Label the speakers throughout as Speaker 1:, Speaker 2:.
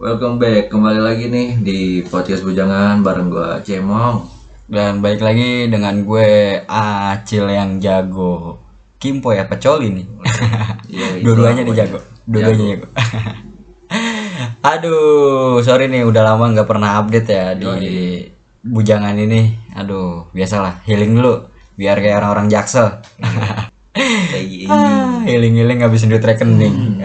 Speaker 1: welcome back kembali lagi nih di podcast bujangan bareng gua Cemong.
Speaker 2: Dan balik lagi dengan gue Acil yang jago. Kimpo ya pecoli nih.
Speaker 1: Iya, itu
Speaker 2: Dua-duanya
Speaker 1: lah
Speaker 2: nih jago.
Speaker 1: pokoknya.
Speaker 2: Dua-duanya jago. Aduh, sorry nih udah lama nggak pernah update ya di bujangan ini. Aduh, biasalah healing dulu biar kayak orang-orang jaksel.
Speaker 1: Kayak gini.
Speaker 2: Healing-healing ngabisin duit
Speaker 1: Hmm.
Speaker 2: rekening.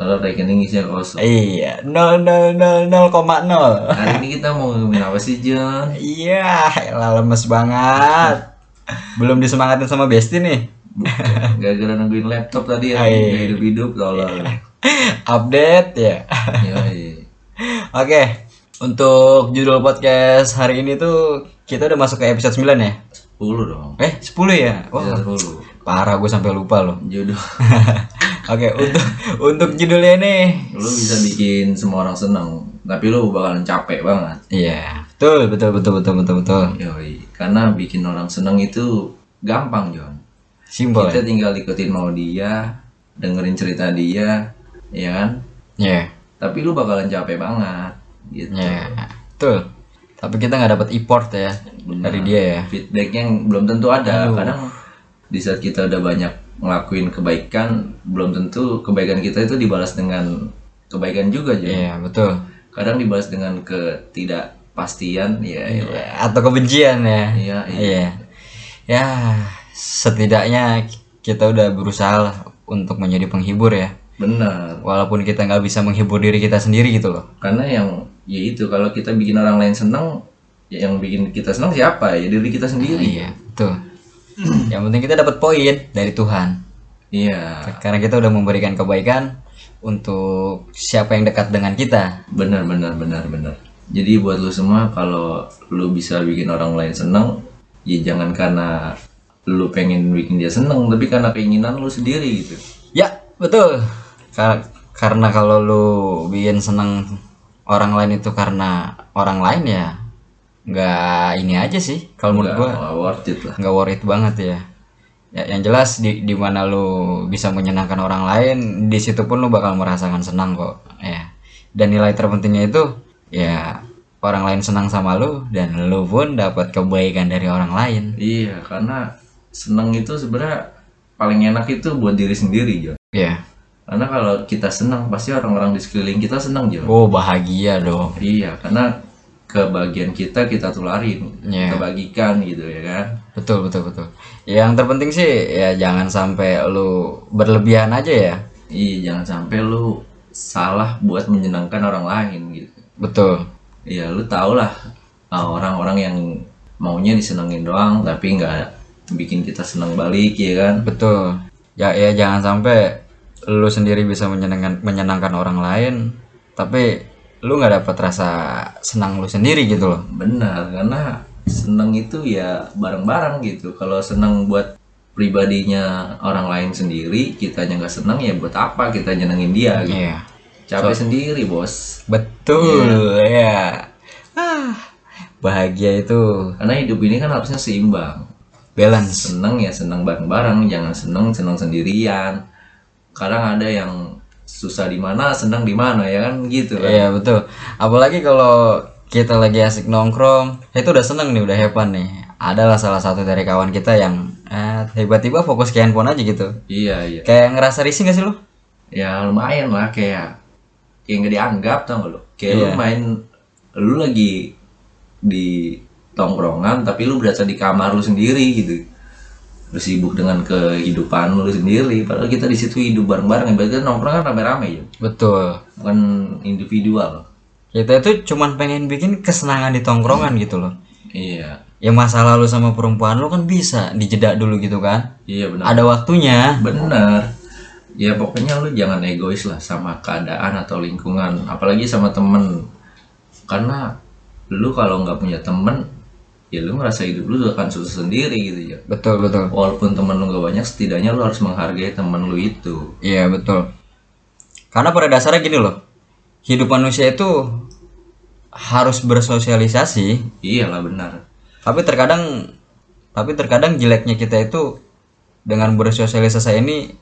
Speaker 1: Lalu rekening isinya kosong.
Speaker 2: iya, 0 0 0 0,0.
Speaker 1: Hari ini kita mau ngomongin apa sih John?
Speaker 2: Iya, elah lemes banget.
Speaker 1: Hmm.
Speaker 2: Belum disemangatin sama Besti nih.
Speaker 1: Bukan, Gara-gara nungguin laptop tadi ya
Speaker 2: Hai.
Speaker 1: hidup-hidup Iya, tolong.
Speaker 2: update ya.
Speaker 1: Yoi.
Speaker 2: Oke, untuk judul podcast hari ini tuh kita udah masuk ke episode 9 ya.
Speaker 1: 10 dong.
Speaker 2: Eh, 10 ya. Wah,
Speaker 1: Ya, 10.
Speaker 2: parah gue sampai lupa loh.
Speaker 1: Jodoh.
Speaker 2: Oke, untuk untuk judulnya nih.
Speaker 1: Lu bisa bikin semua orang senang, tapi lu bakalan capek banget.
Speaker 2: Iya, betul, betul, betul, betul, betul, betul.
Speaker 1: Yoi. Karena bikin orang senang itu gampang John.
Speaker 2: Simpel ya.
Speaker 1: Kita tinggal ikutin mau dia, dengerin cerita dia, ya kan?
Speaker 2: Iya,
Speaker 1: Tapi lu bakalan capek banget gitu.
Speaker 2: iya. Betul. Tapi kita nggak dapat import ya dari dia ya.
Speaker 1: Feedback yang belum tentu ada. Kadang di saat kita udah banyak ngelakuin kebaikan, belum tentu kebaikan kita itu dibalas dengan kebaikan juga John.
Speaker 2: Iya, betul.
Speaker 1: Kadang dibalas dengan ketidakpastian, ya. ya.
Speaker 2: Atau kebencian ya.
Speaker 1: Iya,
Speaker 2: Iya. Ya, setidaknya kita udah berusaha lah untuk menjadi penghibur ya.
Speaker 1: Benar.
Speaker 2: Walaupun kita nggak bisa menghibur diri kita sendiri gitu loh.
Speaker 1: Karena yang ya itu kalau kita bikin orang lain senang, ya yang bikin kita senang siapa? Ya diri kita sendiri.
Speaker 2: Iya, betul. Yang penting kita dapat poin dari Tuhan.
Speaker 1: Iya.
Speaker 2: Karena kita udah memberikan kebaikan untuk siapa yang dekat dengan kita.
Speaker 1: Benar, benar, benar, benar. Jadi buat lu semua kalau lu bisa bikin orang lain seneng, ya jangan karena lu pengen bikin dia seneng, tapi karena keinginan lu sendiri gitu.
Speaker 2: Ya, betul. Kar- karena kalau lu bikin seneng orang lain itu karena orang lain ya nggak ini aja sih kalau menurut
Speaker 1: Nggak
Speaker 2: gua
Speaker 1: worth it lah.
Speaker 2: nggak worth it banget ya. ya yang jelas di di mana lu bisa menyenangkan orang lain di situ pun lu bakal merasakan senang kok ya dan nilai terpentingnya itu ya orang lain senang sama lu dan lu pun dapat kebaikan dari orang lain
Speaker 1: Iya, karena seneng itu sebenarnya paling enak itu buat diri sendiri, Jo.
Speaker 2: ya
Speaker 1: Karena kalau kita senang, pasti orang-orang di sekeliling kita senang, Jo.
Speaker 2: oh bahagia dong
Speaker 1: Iya, karena kebagian kita kita tularin,
Speaker 2: Iya.
Speaker 1: kita bagikan gitu ya kan.
Speaker 2: betul betul betul yang terpenting sih ya jangan sampai lu berlebihan aja ya
Speaker 1: Iya, jangan sampai lu salah buat menyenangkan orang lain gitu.
Speaker 2: betul
Speaker 1: Iya, lu tau lah ah, orang-orang yang maunya disenengin doang, tapi nggak bikin kita senang balik ya kan.
Speaker 2: Betul. Ya ya jangan sampai lu sendiri bisa menyenangkan menyenangkan orang lain, tapi lu nggak dapat rasa senang lu sendiri gitu loh.
Speaker 1: Benar, karena seneng itu ya bareng-bareng gitu. Kalau seneng buat pribadinya orang lain sendiri, kitanya nggak seneng ya buat apa kita nyenengin dia? Gitu.
Speaker 2: Iya.
Speaker 1: Capek sendiri bos.
Speaker 2: Betul. Ya. Ah, bahagia itu
Speaker 1: Karena hidup ini kan harusnya seimbang.
Speaker 2: balance.
Speaker 1: Seneng ya seneng bareng-bareng, jangan seneng seneng sendirian. Kadang ada yang susah di mana, seneng di mana ya kan gitu kan.
Speaker 2: Iya, betul. Apalagi kalau kita lagi asik nongkrong, itu udah seneng nih, udah hepan nih. Adalah salah satu dari kawan kita yang eh, tiba-tiba fokus ke handphone aja gitu.
Speaker 1: Iya iya.
Speaker 2: Kayak ngerasa risih gak sih lu?
Speaker 1: Ya lumayan lah kayak kayak nggak dianggap tau gak lo. Kayak lu main lu lagi di tongkrongan tapi lu berasa di kamar lu sendiri gitu. Lu sibuk dengan kehidupan lu sendiri. Padahal kita di situ hidup bareng-bareng. Berarti nongkrong kan rame-rame ya.
Speaker 2: Betul.
Speaker 1: Bukan individual.
Speaker 2: kita itu cuman pengen bikin kesenangan di tongkrongan gitu loh
Speaker 1: Iya.
Speaker 2: ya masa lalu sama perempuan lo kan bisa dijeda dulu gitu kan
Speaker 1: Iya benar.
Speaker 2: ada waktunya
Speaker 1: Benar. Ya pokoknya lu jangan egois lah sama keadaan atau lingkungan, apalagi sama temen. Karena lu kalau nggak punya temen, ya lu ngerasa hidup lu akan susah sendiri gitu ya.
Speaker 2: betul betul
Speaker 1: Walaupun temen lu nggak banyak, setidaknya lu harus menghargai temen lu itu.
Speaker 2: iya betul karena pada dasarnya gini loh hidup manusia itu harus bersosialisasi
Speaker 1: Iyalah benar.
Speaker 2: tapi terkadang tapi terkadang jeleknya kita itu dengan bersosialisasi ini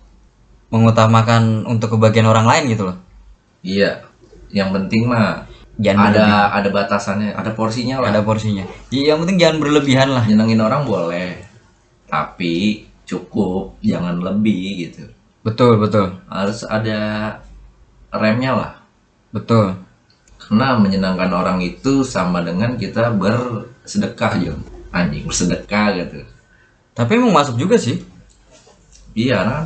Speaker 2: mengutamakan untuk kebahagiaan orang lain gitu loh
Speaker 1: Iya. yang penting mah
Speaker 2: jangan
Speaker 1: ada ada batasannya ada porsinya
Speaker 2: berlebihan,
Speaker 1: lah
Speaker 2: ada porsinya ya, yang penting jangan berlebihan lah
Speaker 1: nyenengin orang boleh tapi cukup jangan lebih gitu
Speaker 2: betul betul
Speaker 1: harus ada remnya lah
Speaker 2: betul
Speaker 1: karena menyenangkan orang itu sama dengan kita bersedekah Jon anjing bersedekah gitu
Speaker 2: tapi emang masuk juga sih
Speaker 1: iya kan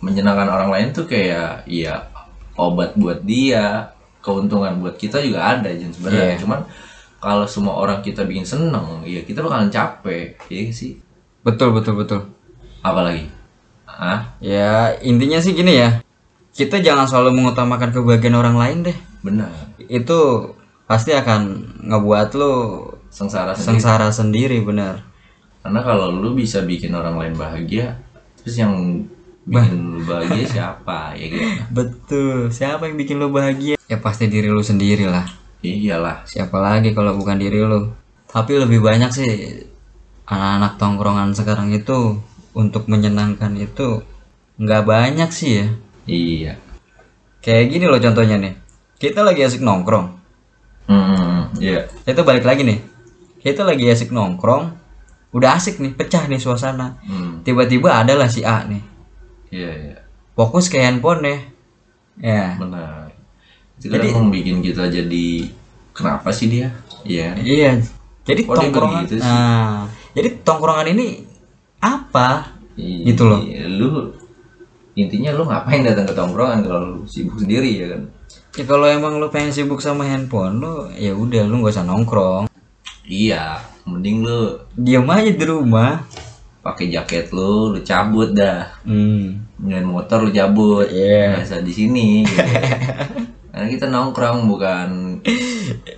Speaker 1: menyenangkan orang lain tuh kayak ya obat buat dia keuntungan buat kita juga ada Jon sebenarnya
Speaker 2: Iya.
Speaker 1: cuman kalau semua orang kita bikin seneng ya kita bakalan capek iya nggak sih
Speaker 2: betul betul betul
Speaker 1: apalagi ah
Speaker 2: ya intinya sih gini ya kita jangan selalu mengutamakan kebahagiaan orang lain deh
Speaker 1: benar
Speaker 2: itu pasti akan ngebuat lo
Speaker 1: sengsara sendiri
Speaker 2: sengsara sendiri bener
Speaker 1: karena kalau lu bisa bikin orang lain bahagia terus yang bikin lu bahagia siapa ya gitu
Speaker 2: betul siapa yang bikin lo bahagia ya pasti diri lo sendiri lah
Speaker 1: iyalah
Speaker 2: siapa lagi kalau bukan diri lo tapi lebih banyak sih anak-anak tongkrongan sekarang itu untuk menyenangkan itu nggak banyak sih ya
Speaker 1: Iya.
Speaker 2: kayak gini loh contohnya nih kita lagi asik nongkrong
Speaker 1: Hmm, iya.
Speaker 2: itu balik lagi nih kita lagi asik nongkrong udah asik nih pecah nih suasana
Speaker 1: Hmm,
Speaker 2: tiba-tiba adalah si A nih
Speaker 1: iya, iya.
Speaker 2: fokus ke handphone nih ya
Speaker 1: Benar. Itu
Speaker 2: Jadi-
Speaker 1: kadang bikin kita jadi kenapa sih dia? Iya.
Speaker 2: iya jadi
Speaker 1: Kok dia
Speaker 2: tongkrongan
Speaker 1: begitu sih?
Speaker 2: nah jadi tongkrongan ini apa
Speaker 1: I-
Speaker 2: Gitu loh.
Speaker 1: Iya. Lu intinya lu ngapain datang ke tongkrongan kalau lu sibuk sendiri ya kan?
Speaker 2: ya kalau emang lu pengen sibuk sama handphone lu ya udah lu nggak usah nongkrong
Speaker 1: Iya, mending lu
Speaker 2: diam aja di rumah
Speaker 1: pakai jaket lu, lu cabut dah.
Speaker 2: hmm
Speaker 1: Main motor lu cabut.
Speaker 2: Iya.
Speaker 1: Biasa di sini gitu. Karena kita nongkrong bukan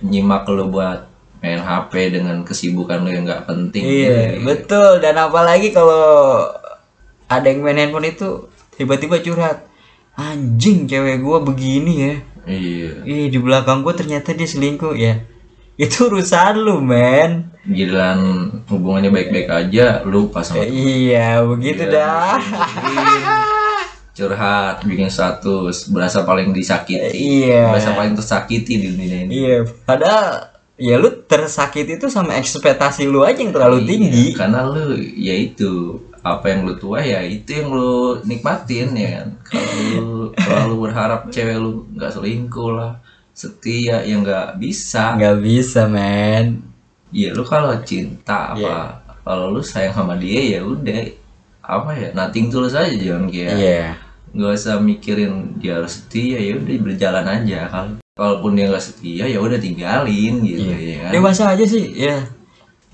Speaker 1: nyimak lu buat main HP dengan kesibukan lu yang nggak penting.
Speaker 2: iya betul dan apalagi kalau ada yang main handphone itu tiba-tiba curhat anjing cewek gua begini ya
Speaker 1: Iya.
Speaker 2: ih di belakang gua ternyata dia selingkuh ya itu urusan lu men
Speaker 1: Giliran hubungannya baik-baik aja, lu pas sama
Speaker 2: iya begitu dah
Speaker 1: curhat, bikin status, berasa paling disakiti,
Speaker 2: iya
Speaker 1: berasa paling tersakiti di dunia ini.
Speaker 2: iya padahal ya lu tersakiti itu sama ekspektasi lu aja yang terlalu tinggi
Speaker 1: Iya, Karena lu ya itu apa yang lu tua ya itu yang lu nikmatin ya kan. Kalau lu terlalu berharap cewek lu nggak selingkuh lah, setia ya nggak bisa.
Speaker 2: nggak bisa men
Speaker 1: Iya lu kalau cinta apa,
Speaker 2: Iya.
Speaker 1: kalau lu sayang sama dia ya udah apa ya nothing tulus aja jangan kayak
Speaker 2: iya
Speaker 1: nggak usah mikirin dia harus setia ya udah berjalan aja kalau kalaupun dia nggak setia ya udah tinggalin gitu ya kan?
Speaker 2: dewasa Iya. aja sih ya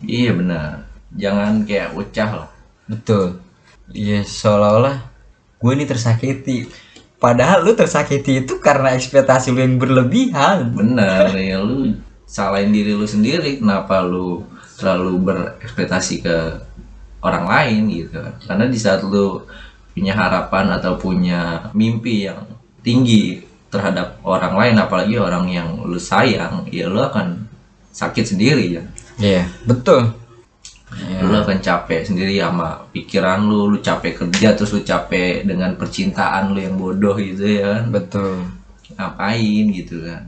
Speaker 1: iya benar jangan kayak ucah lah
Speaker 2: betul iya seolah-olah gue ini tersakiti padahal lu tersakiti itu karena ekspektasi lu yang berlebihan
Speaker 1: benar ya lu salahin diri lu sendiri kenapa lu terlalu berekspektasi ke orang lain gitu karena di saat lu punya harapan atau punya mimpi yang tinggi terhadap orang lain apalagi orang yang lu sayang ya lu akan sakit sendiri ya
Speaker 2: iya betul
Speaker 1: lu akan capek sendiri sama pikiran lu lu capek kerja terus lu capek dengan percintaan lu yang bodoh gitu ya kan
Speaker 2: betul
Speaker 1: ngapain gitu kan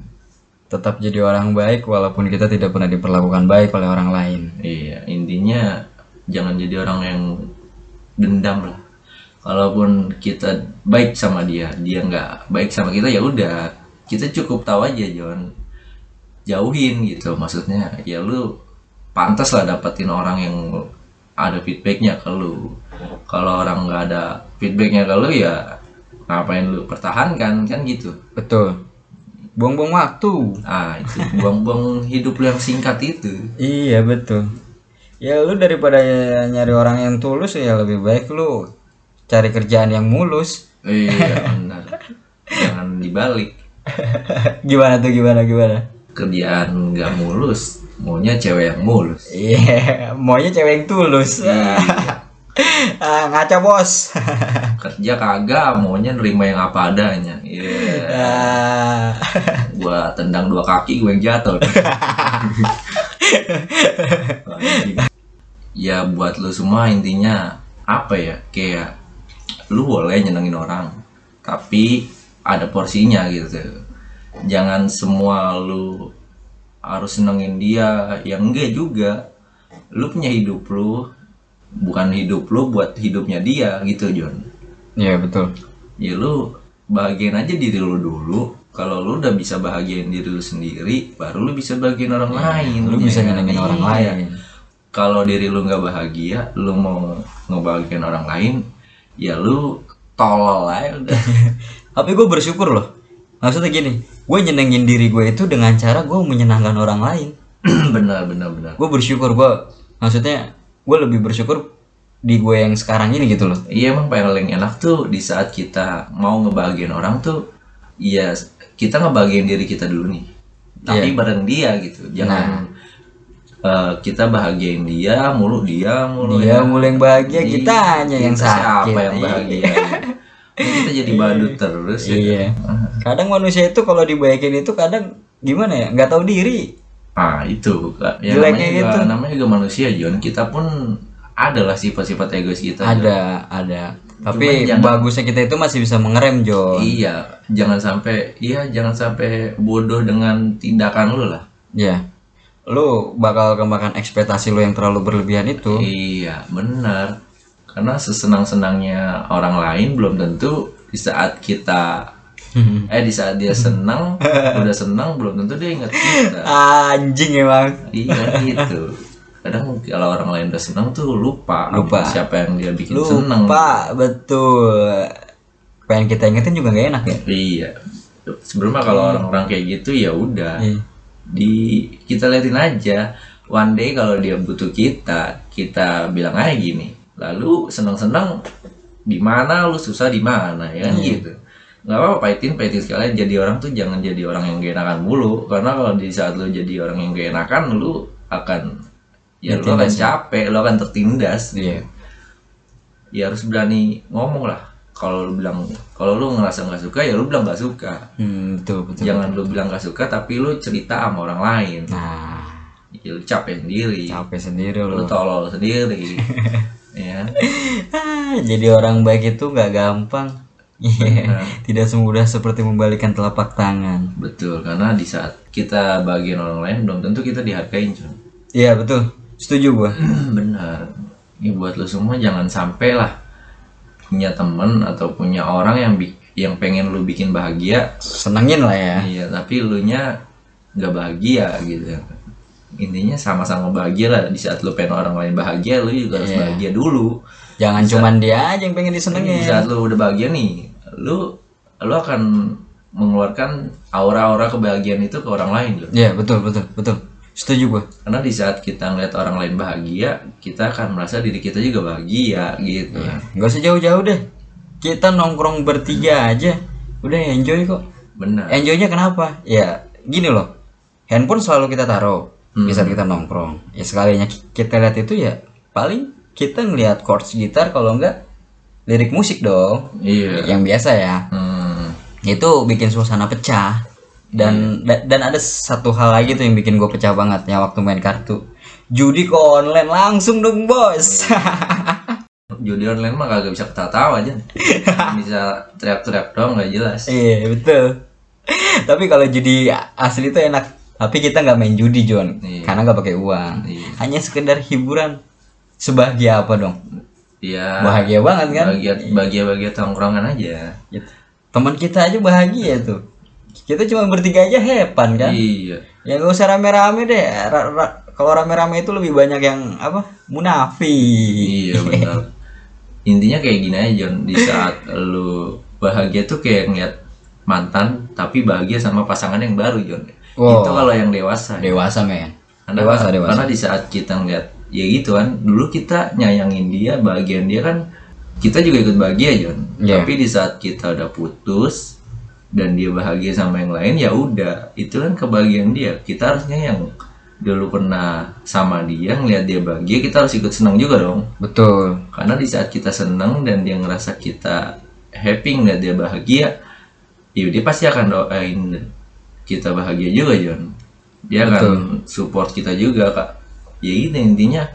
Speaker 2: tetap jadi orang baik walaupun kita tidak pernah diperlakukan baik oleh orang lain
Speaker 1: iya intinya jangan jadi orang yang dendam lah kalaupun kita baik sama dia dia nggak baik sama kita ya udah kita cukup tahu aja jangan jauhin gitu maksudnya ya lu pantas lah dapetin orang yang ada feedbacknya ke lu kalau orang nggak ada feedbacknya ke lu ya ngapain lu pertahankan kan gitu
Speaker 2: betul buang-buang waktu
Speaker 1: ah itu buang-buang hidup lu yang singkat itu
Speaker 2: iya betul ya lu daripada nyari orang yang tulus ya lebih baik lu cari kerjaan yang mulus
Speaker 1: iya benar jangan dibalik
Speaker 2: gimana tuh gimana gimana
Speaker 1: kerjaan nggak mulus maunya cewek yang mulus
Speaker 2: iya maunya cewek yang tulus Ah, ngaca bos
Speaker 1: kerja kagak maunya nerima yang apa adanya iya
Speaker 2: Ah.
Speaker 1: gua tendang dua kaki gua yang jatuh Anjing. ya buat lu semua intinya apa ya kayak lu boleh nyenengin orang tapi ada porsinya gitu jangan semua lu harus senengin dia ya enggak juga lu punya hidup lu bukan hidup lu buat hidupnya dia gitu John
Speaker 2: Iya betul.
Speaker 1: ya lu bahagiain aja diri lu dulu kalau lu udah bisa bahagiain diri lu sendiri baru lu bisa bahagiain orang lain
Speaker 2: Iya, Lu bisa
Speaker 1: nyenengin
Speaker 2: nyenengin orang lain.
Speaker 1: kalau diri lu nggak bahagia lu mau ngebahagiain orang lain ya lu tolol aja udah
Speaker 2: Tapi gue bersyukur loh. Maksudnya gini, gue nyenengin diri gue itu dengan cara gue menyenangkan orang lain.
Speaker 1: benar benar benar
Speaker 2: Gue bersyukur gue, maksudnya gue lebih bersyukur di gue yang sekarang ini gitu loh.
Speaker 1: Iya emang paling enak tuh di saat kita mau ngebahagiain orang tuh Iya kita ngebahagiain diri kita dulu nih
Speaker 2: Iya.
Speaker 1: Tapi bareng dia gitu Jangan eh, kita bahagiain dia mulu dia mulu
Speaker 2: Nah. Dia mulai yang bahagia,
Speaker 1: Iya,
Speaker 2: kita hanya Iya. yang
Speaker 1: kita siapa
Speaker 2: sakit.
Speaker 1: yang bahagia Kita jadi badut terus ya.
Speaker 2: Iya. Kadang manusia itu kalau dibaikin itu kadang gimana ya, nggak tahu diri.
Speaker 1: Ah itu Kak. ya, namanya
Speaker 2: Jeleknya
Speaker 1: juga,
Speaker 2: gitu.
Speaker 1: namanya juga manusia John Kita pun adalah sifat-sifat egois kita John.
Speaker 2: Ada, ada. Tapi
Speaker 1: jangan-
Speaker 2: bagusnya kita itu masih bisa mengerem Jo.
Speaker 1: Iya Jangan sampai Iya jangan sampai bodoh dengan tindakan lu lah
Speaker 2: Iya. Lu bakal kemakan ekspektasi lu yang terlalu berlebihan itu.
Speaker 1: Iya, benar. Karena sesenang-senangnya orang lain belum tentu di saat kita
Speaker 2: Iya.
Speaker 1: eh di saat dia senang, udah senang belum tentu dia ingat kita.
Speaker 2: Anjing emang.
Speaker 1: Iya gitu. Kadang kalau orang lain udah senang tuh lupa,
Speaker 2: Lupa.
Speaker 1: siapa yang dia bikin senang.
Speaker 2: Lupa betul. Pengen kita ingetin juga nggak enak ya.
Speaker 1: Iya. Sebelumnya kalau orang-orang kayak gitu ya udah
Speaker 2: Iya.
Speaker 1: di kita liatin aja. One day kalau dia butuh kita, kita bilang aja gini. Lalu seneng-seneng di mana lu susah di mana ya kan gitu. Gak apa-apa paitin paitin sekali aja. jadi orang tuh jangan jadi orang yang keenakan mulu karena kalau di saat lu jadi orang yang keenakan lu akan ya lu akan capek, lu akan tertindas
Speaker 2: Iya.
Speaker 1: ya harus berani ngomong lah kalau lu bilang kalau lu ngerasa nggak suka ya lu bilang nggak suka
Speaker 2: Hmm, betul betul.
Speaker 1: jangan lu bilang nggak suka tapi lu cerita sama orang lain
Speaker 2: Nah,
Speaker 1: ya lu capek sendiri
Speaker 2: capek sendiri
Speaker 1: lu
Speaker 2: lu.
Speaker 1: tolol sendiri ya
Speaker 2: Ah, jadi orang baik itu nggak gampang. Iya. Tidak semudah seperti membalikan telapak tangan.
Speaker 1: betul karena di saat kita bagian orang lain belum tentu kita dihargain cuy
Speaker 2: Iya betul. Setuju gua.
Speaker 1: benar ini buat lu semua jangan sampai lah punya temen atau punya orang yang bi- yang pengen lu bikin bahagia
Speaker 2: Senengin lah ya.
Speaker 1: Iya, tapi lu nya nggak bahagia gitu. Intinya sama-sama bahagia lah. Di saat lu pengen orang lain bahagia, lu juga harus bahagia dulu.
Speaker 2: Jangan cuman dia aja yang pengen
Speaker 1: Di
Speaker 2: disenengin.
Speaker 1: saat lu udah bahagia nih, lu lu akan mengeluarkan aura-aura kebahagiaan itu ke orang lain loh.
Speaker 2: Iya betul betul betul. Setuju gua.
Speaker 1: Karena di saat kita ngeliat orang lain bahagia, kita akan merasa diri kita juga bahagia gitu.
Speaker 2: Gak usah jauh-jauh deh. Kita nongkrong bertiga aja. Udah enjoy kok.
Speaker 1: Benar.
Speaker 2: Enjoynya kenapa? Ya gini loh. Handphone selalu kita taruh di saat kita nongkrong. Ya sekalinya ki- kita lihat itu ya paling kita ngelihat chords gitar kalau enggak lirik musik dong.
Speaker 1: Iya.
Speaker 2: Yang biasa ya.
Speaker 1: Hmm.
Speaker 2: Itu bikin suasana pecah. Dan
Speaker 1: Iya.
Speaker 2: da- dan ada satu hal lagi tuh yang bikin gue pecah banget ya waktu main kartu. Judi ke online langsung dong bos.
Speaker 1: Judi online mah kagak bisa ketawa aja. bisa teriak-teriak doang nggak jelas.
Speaker 2: Iya betul. Tapi kalau judi asli itu enak. Tapi kita nggak main judi John,
Speaker 1: Iya.
Speaker 2: karena nggak pakai uang.
Speaker 1: Iya.
Speaker 2: Hanya sekedar hiburan. Sebahagia apa dong?
Speaker 1: Iya.
Speaker 2: Bahagia banget kan?
Speaker 1: bahagia bahagia bahagia tongkrongan aja
Speaker 2: Gitu. Teman kita aja bahagia tuh. Kita cuma bertiga aja hepan kan?
Speaker 1: iya
Speaker 2: Ya nggak usah rame-rame deh. Ra- ra- kalau rame-rame itu lebih banyak yang apa? Munafik.
Speaker 1: iya benar intinya kayak gini aja John di saat lu bahagia tuh kayak ngeliat mantan tapi bahagia sama pasangan yang baru John
Speaker 2: Wow.
Speaker 1: itu kalau yang dewasa ya.
Speaker 2: Dewasa men.
Speaker 1: karena,
Speaker 2: Dewasa dewasa.
Speaker 1: karena di saat kita ngeliat ya gitu kan dulu kita nyayangin dia bahagian dia kan kita juga ikut bahagia John
Speaker 2: Iya.
Speaker 1: tapi di saat kita udah putus dan dia bahagia sama yang lain ya udah itu kan kebahagiaan dia kita harusnya yang dulu pernah sama dia ngeliat dia bahagia kita harus ikut senang juga dong
Speaker 2: Betul.
Speaker 1: karena di saat kita senang dan dia ngerasa kita happy ngeliat dia bahagia ya dia pasti akan doain kita bahagia juga John dia akan support kita juga kak ya gitu intinya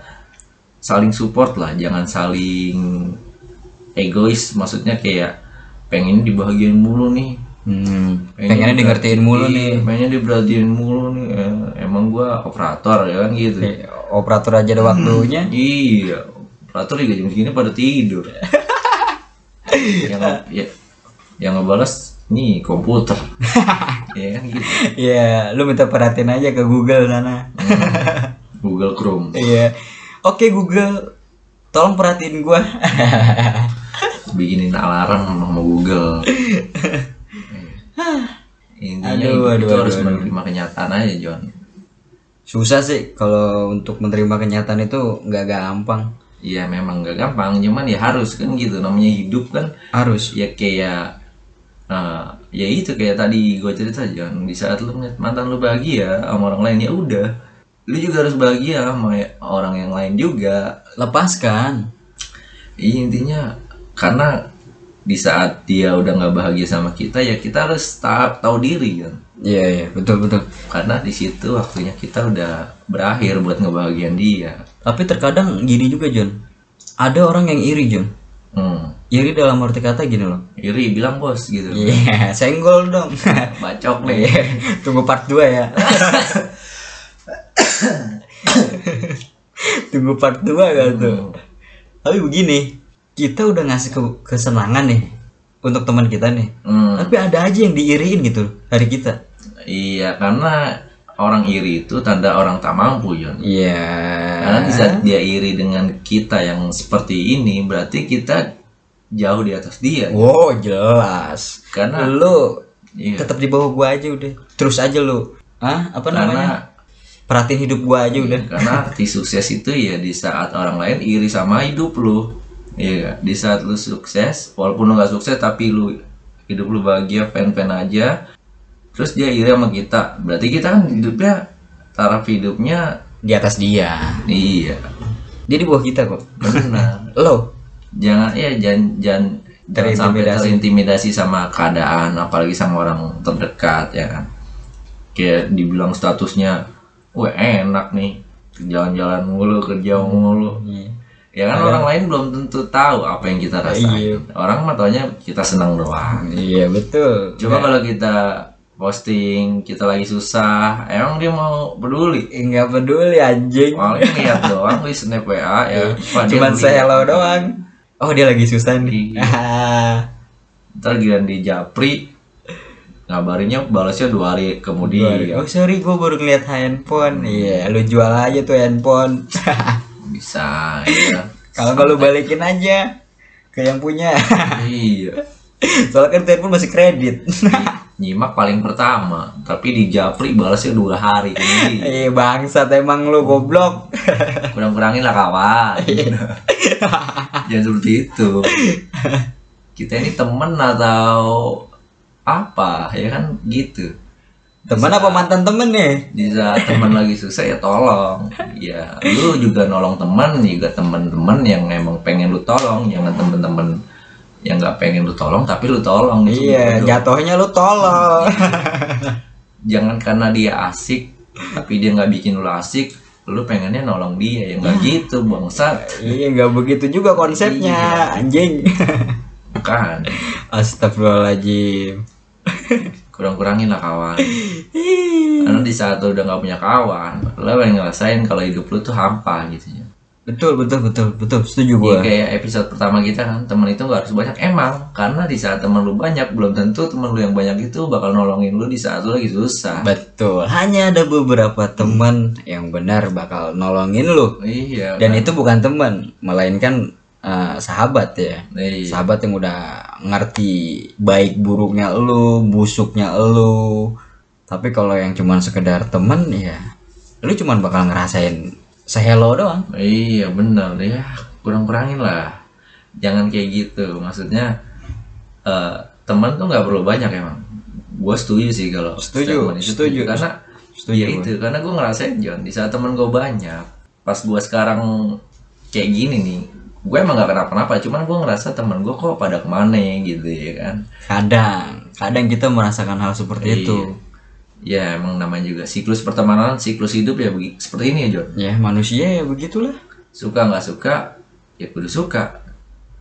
Speaker 1: saling support lah jangan saling egois maksudnya kayak pengen dibahagiain mulu nih
Speaker 2: Hmm, pengennya di ngertiin mulu nih.
Speaker 1: Iya, mainnya diperhatiin mulu nih ya. emang gua operator ya kan gitu
Speaker 2: Eh, Operator aja ada waktunya.
Speaker 1: iya operator juga jam segini pada tidur yang nge- ya, yang ngebales nih komputer ya kan gitu
Speaker 2: Iya, lu minta perhatiin aja ke Google sana. Hmm.
Speaker 1: Google Chrome
Speaker 2: Iya. Oke Google, tolong perhatiin gua.
Speaker 1: bikinin alarm sama Google. Intinya
Speaker 2: Aduh,
Speaker 1: hidup
Speaker 2: aduh,
Speaker 1: itu
Speaker 2: aduh,
Speaker 1: harus
Speaker 2: aduh.
Speaker 1: menerima kenyataan aja John.
Speaker 2: Susah sih kalau untuk menerima kenyataan itu nggak gampang.
Speaker 1: Iya memang gak gampang, cuman ya harus kan gitu namanya hidup kan
Speaker 2: Harus.
Speaker 1: ya kayak eh, ya itu kayak tadi gue cerita John di saat lu ngeliat mantan lu bahagia sama orang lain ya udah lu juga harus bahagia sama orang yang lain juga
Speaker 2: Lepaskan.
Speaker 1: Iya intinya karena di saat dia udah nggak bahagia sama kita ya kita harus ta- tahu diri kan
Speaker 2: Iya, iya, betul betul.
Speaker 1: karena di situ waktunya kita udah berakhir buat ngebahagian dia
Speaker 2: Tapi terkadang gini juga John. Ada orang yang iri John.
Speaker 1: hmm.
Speaker 2: Iri dalam arti kata gini loh.
Speaker 1: iri bilang bos gitu
Speaker 2: Iya, senggol dong.
Speaker 1: bacok nih
Speaker 2: Iya, Tunggu part 2 ya. Tunggu part 2 kan tuh.
Speaker 1: Oh.
Speaker 2: Tapi begini, kita udah ngasih ke- kesenangan nih untuk teman kita nih.
Speaker 1: Hmm.
Speaker 2: Tapi ada aja yang diiriin gitu dari kita.
Speaker 1: iya karena orang iri itu tanda orang tak mampu Yon
Speaker 2: Iya.
Speaker 1: karena di saat dia iri dengan kita yang seperti ini berarti kita jauh di atas dia
Speaker 2: Wow, jelas.
Speaker 1: Karena-
Speaker 2: lu
Speaker 1: Iya.
Speaker 2: tetap di bawah gua aja udah. Terus aja lu. Hah? Apa namanya?
Speaker 1: karena Iya.
Speaker 2: Perhatiin hidup gua aja udah.
Speaker 1: karena arti sukses itu ya di saat orang lain iri sama hidup lu iya nggak? di saat lu sukses walaupun lu nggak sukses tapi lu hidup lu bahagia fan fan aja terus dia iri sama kita berarti kita kan hidupnya taraf hidupnya
Speaker 2: Di atas dia.
Speaker 1: iya
Speaker 2: Dia di bawah kita kok.
Speaker 1: benar
Speaker 2: Lo
Speaker 1: jangan ya jangan jangan jangan sampai
Speaker 2: Terintimidasi.
Speaker 1: terintimidasi sama keadaan apalagi sama orang terdekat ya kan kayak dibilang statusnya wah enak nih jalan-jalan mulu kerja mulu ya kan orang lain belum tentu tahu apa yang kita rasain orang mah taunya kita senang doang
Speaker 2: Iya betul.
Speaker 1: coba kalau kita posting kita lagi susah emang dia mau peduli
Speaker 2: Enggak peduli anjing.
Speaker 1: paling lihat doang di snap wa ya Wah, dia
Speaker 2: Iya. Cuman
Speaker 1: beli.
Speaker 2: saya hello doang. Oh dia lagi susah nih.
Speaker 1: Iya. ntar giliran di japri ngabarinnya balasnya dua hari kemudian
Speaker 2: oh sorry gue baru ngeliat handphone. Iya lu jual aja tuh handphone.
Speaker 1: bisa ya
Speaker 2: Kalau nggak lu balikin aja ke yang punya.
Speaker 1: iya
Speaker 2: Soalnya kan tuh handphone masih kredit.
Speaker 1: nyimak paling pertama tapi di japri balasnya dua hari kemudian
Speaker 2: Eh bangsat emang lu goblok.
Speaker 1: kurang-kurangin lah kawan jangan seperti itu kita ini temen atau apa ya kan gitu
Speaker 2: Teman apa mantan temen nih?
Speaker 1: di saat teman lagi susah ya tolong ya lu juga nolong teman juga teman-teman yang emang pengen lu tolong jangan temen-temen yang nggak pengen lu tolong tapi lu tolong Gitu. Itu
Speaker 2: Iya,
Speaker 1: bodoh.
Speaker 2: jatuhnya lu tolol.
Speaker 1: jangan karena dia asik tapi dia nggak bikin lu asik lu pengennya nolong dia ya nggak gitu bangsat
Speaker 2: iya, nggak begitu juga konsepnya, anjing.
Speaker 1: bukan
Speaker 2: Astagfirullahaladzim.
Speaker 1: kurang-kurangin lah kawan karena di saat lu udah nggak punya kawan lu pengen ngerasain kalau hidup lu tuh hampa gitu ya
Speaker 2: Betul, betul, betul, betul. Setuju gue.
Speaker 1: Iya, kayak episode pertama kita kan teman itu nggak harus banyak emang karena di saat teman lu banyak belum tentu teman lu yang banyak itu bakal nolongin lu di saat lu lagi susah
Speaker 2: Betul. Hanya ada beberapa teman yang benar bakal nolongin lu.
Speaker 1: iya
Speaker 2: Dan itu bukan teman, melainkan eh, sahabat ya.
Speaker 1: iya
Speaker 2: Sahabat yang udah ngerti baik buruknya lu, busuknya lu. Tapi kalau yang cuman sekedar teman ya, lu cuman bakal ngerasain sehelo doang.
Speaker 1: iya benar ya kurang kurangin lah jangan kayak gitu maksudnya eh, teman tuh nggak perlu banyak emang gue setuju sih kalau
Speaker 2: Setuju,
Speaker 1: statement itu
Speaker 2: setuju.
Speaker 1: karena
Speaker 2: Setuju
Speaker 1: ya
Speaker 2: gua.
Speaker 1: itu karena gue ngerasain John di saat temen gue banyak pas gue sekarang kayak gini nih gue emang gak kenapa-napa cuman gue ngerasa temen gue kok pada kemana ya gitu ya kan
Speaker 2: Kadang, kadang kita merasakan hal seperti
Speaker 1: Iya.
Speaker 2: itu.
Speaker 1: ya emang namanya juga siklus pertemanan siklus hidup ya begi- seperti ini ya John
Speaker 2: Ya manusia ya begitulah.
Speaker 1: suka nggak suka ya kudu suka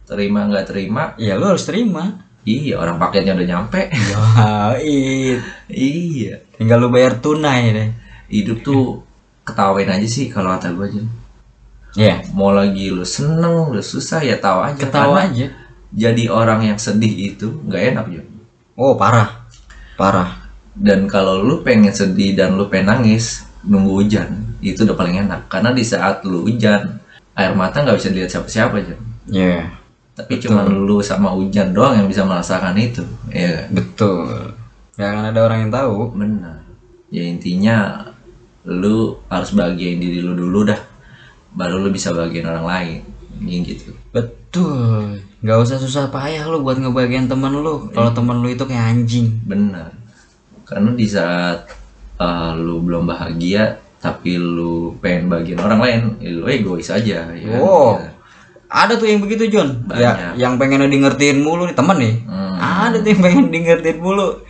Speaker 1: terima nggak terima
Speaker 2: Ya lu harus terima.
Speaker 1: Iya, orang paketnya udah nyampe.
Speaker 2: Yoi.
Speaker 1: iya.
Speaker 2: Tinggal lu bayar tunai deh.
Speaker 1: Hidup tuh ketawain aja sih kalau kata gue aja.
Speaker 2: Iya.
Speaker 1: Mau lagi lu seneng, lu susah ya tawa aja.
Speaker 2: Ketawa
Speaker 1: Karena
Speaker 2: aja.
Speaker 1: Jadi orang yang sedih itu nggak enak Jun.
Speaker 2: Oh parah, parah.
Speaker 1: Dan kalau lu pengen sedih dan lu pengen nangis, nunggu hujan itu udah paling enak. Karena di saat lu hujan, air mata nggak bisa dilihat siapa-siapa Jun.
Speaker 2: Iya.
Speaker 1: Tapi cuma lu sama hujan doang yang bisa merasakan itu. Iya.
Speaker 2: Betul. Gak akan ada orang yang tahu.
Speaker 1: Benar. Ya intinya lu harus bahagiain diri lu dulu dah. Baru lu bisa bahagiain orang lain. Mungkin gitu.
Speaker 2: Betul. Gak usah susah payah lu buat ngebagian teman lu. Kalau teman lu itu kayak anjing.
Speaker 1: Benar. Karena di saat uh, lu belum bahagia tapi lu pengen bagiain orang lain, ya lu egois aja ya. kan?
Speaker 2: Wow.
Speaker 1: Ya.
Speaker 2: Ada tuh yang begitu John. Ya, yang pengen di ngertiin mulu nih teman nih.
Speaker 1: Hmm.
Speaker 2: Ada tuh yang pengen di ngertiin mulu.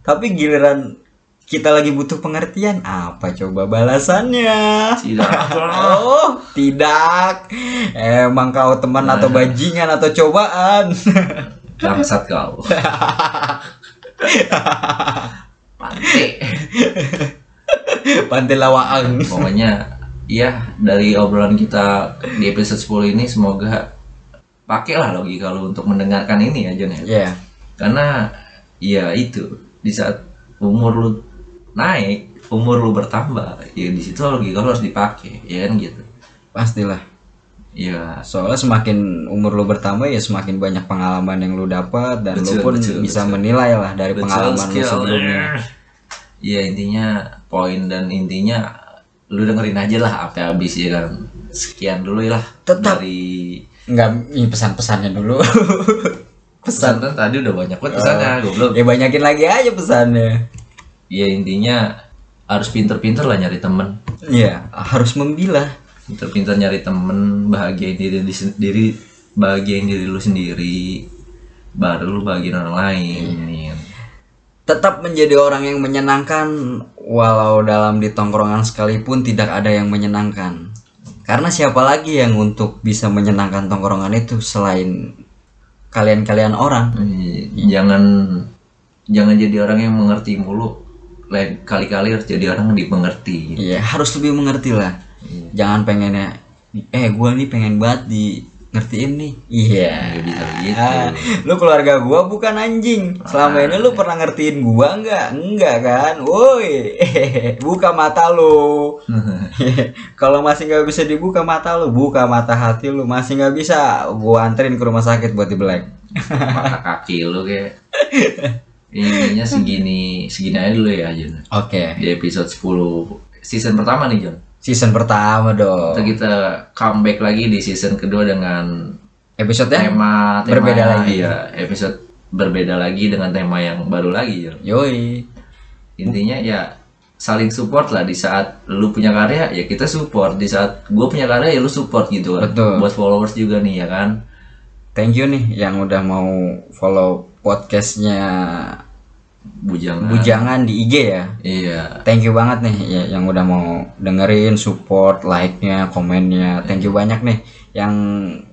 Speaker 2: Tapi giliran kita lagi butuh pengertian apa coba balasannya?
Speaker 1: Tidak.
Speaker 2: Oh, tidak. Emang kau teman atau
Speaker 1: Nah.
Speaker 2: bajingan atau cobaan.
Speaker 1: Bangsat kau. Pantai.
Speaker 2: Pantai Lawaang.
Speaker 1: Pokoknya ya dari obrolan kita di episode 10 ini semoga pakailah logika lu untuk mendengarkan ini aja nih.
Speaker 2: Ya,
Speaker 1: Karena ya itu di saat umur lu naik, umur lu bertambah, ya di situ logika lu harus dipakai, ya kan gitu.
Speaker 2: pastilah.
Speaker 1: Ya,
Speaker 2: Soalnya semakin umur lu bertambah ya semakin banyak pengalaman yang lu dapat dan lu
Speaker 1: Betul,
Speaker 2: pun
Speaker 1: betul,
Speaker 2: bisa menilai lah dari Ya, pengalaman lu sebelumnya.
Speaker 1: Ya intinya poin dan intinya lu dengerin aja lah apa habis ya kan. Sekian dulu lah
Speaker 2: Tetap.
Speaker 1: dari
Speaker 2: Enggak, ini pesan-pesannya dulu.
Speaker 1: pesan kan tadi udah banyak banget pesannya goblok.
Speaker 2: ya banyakin lagi aja pesannya.
Speaker 1: Ya intinya harus pinter-pinter lah nyari temen
Speaker 2: Ya, harus membilah.
Speaker 1: pinter-pinter nyari temen bahagiain diri di sendiri bahagiain diri lu sendiri baru lu bahagiain orang lain Iya.
Speaker 2: Tetap menjadi orang yang menyenangkan walau dalam di tongkrongan sekalipun tidak ada yang menyenangkan. Karena siapa lagi yang untuk bisa menyenangkan tongkrongan itu selain kalian-kalian orang?
Speaker 1: Eh, jangan jangan jadi orang yang mengerti mulu lain kali-kali harus jadi orang yang dimengerti
Speaker 2: Iya, harus lebih mengerti lah. Jangan pengennya, eh gua nih pengen banget di ngertiin nih. Iya.
Speaker 1: Ya, bisa gitu
Speaker 2: Ah, lu keluarga gua bukan anjing. Selama ini lu pernah ngertiin gua nggak? Enggak kan? Woi, buka mata lu. Kalau masih nggak bisa dibuka mata lu, buka mata hati lu. Masih nggak bisa, gua anterin ke rumah sakit buat dibelek.
Speaker 1: mata kaki lu kayak intinya segini segini aja dulu ya Jun
Speaker 2: Oke,
Speaker 1: di episode 10 season pertama nih Jun
Speaker 2: season pertama
Speaker 1: Kita-
Speaker 2: dong.
Speaker 1: kita comeback lagi di season kedua dengan
Speaker 2: Episode yang
Speaker 1: tema, tema
Speaker 2: Berbeda lagi.
Speaker 1: ya episode berbeda lagi dengan tema yang baru lagi ya
Speaker 2: Yoi.
Speaker 1: intinya ya saling support lah di saat lu punya karya ya kita support di saat gue punya karya ya lu support gitu kan
Speaker 2: Betul.
Speaker 1: buat followers juga nih ya kan
Speaker 2: Thank you nih yang udah mau follow podcastnya
Speaker 1: bujangan
Speaker 2: Bujangan di IG ya.
Speaker 1: iya
Speaker 2: Thank you banget nih ya, yang udah mau dengerin, support, like-nya, komennya. Thank you banyak nih yang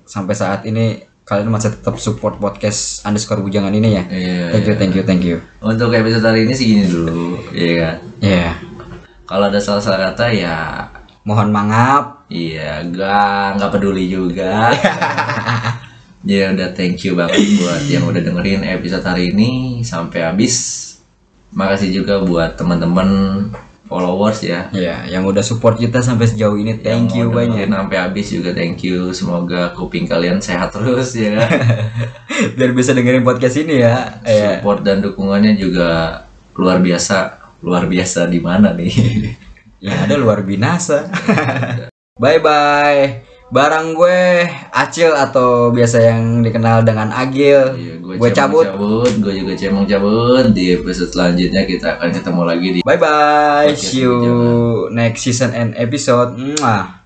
Speaker 2: sampai saat ini kalian masih tetap support podcast underscore bujangan ini ya.
Speaker 1: iya
Speaker 2: Thank you, thank you, thank you.
Speaker 1: untuk episode hari ini segini dulu iya kan
Speaker 2: Ya,
Speaker 1: kalau ada salah-salah kata ya
Speaker 2: mohon maaf.
Speaker 1: iya gak nggak peduli juga ya udah thank you banget buat yang udah dengerin episode hari ini sampai habis makasih juga buat teman-teman followers ya
Speaker 2: Ya, yang udah support kita sampai sejauh ini, thank
Speaker 1: Yang
Speaker 2: you
Speaker 1: mau
Speaker 2: banyak.
Speaker 1: dengerin sampai habis juga thank you semoga kuping kalian sehat terus ya kan?
Speaker 2: Biar bisa dengerin podcast ini ya. Ya.
Speaker 1: support dan dukungannya juga luar biasa luar biasa di mana nih
Speaker 2: Ya ada luar binasa. bye bye. Barang gue Acil atau biasa yang dikenal dengan Agil.
Speaker 1: Iya,
Speaker 2: Gua cabut.
Speaker 1: cabut gue juga cemong cabut di episode selanjutnya kita akan ketemu lagi di
Speaker 2: Bye bye.
Speaker 1: Oke,
Speaker 2: See you next season and episode. Mwah.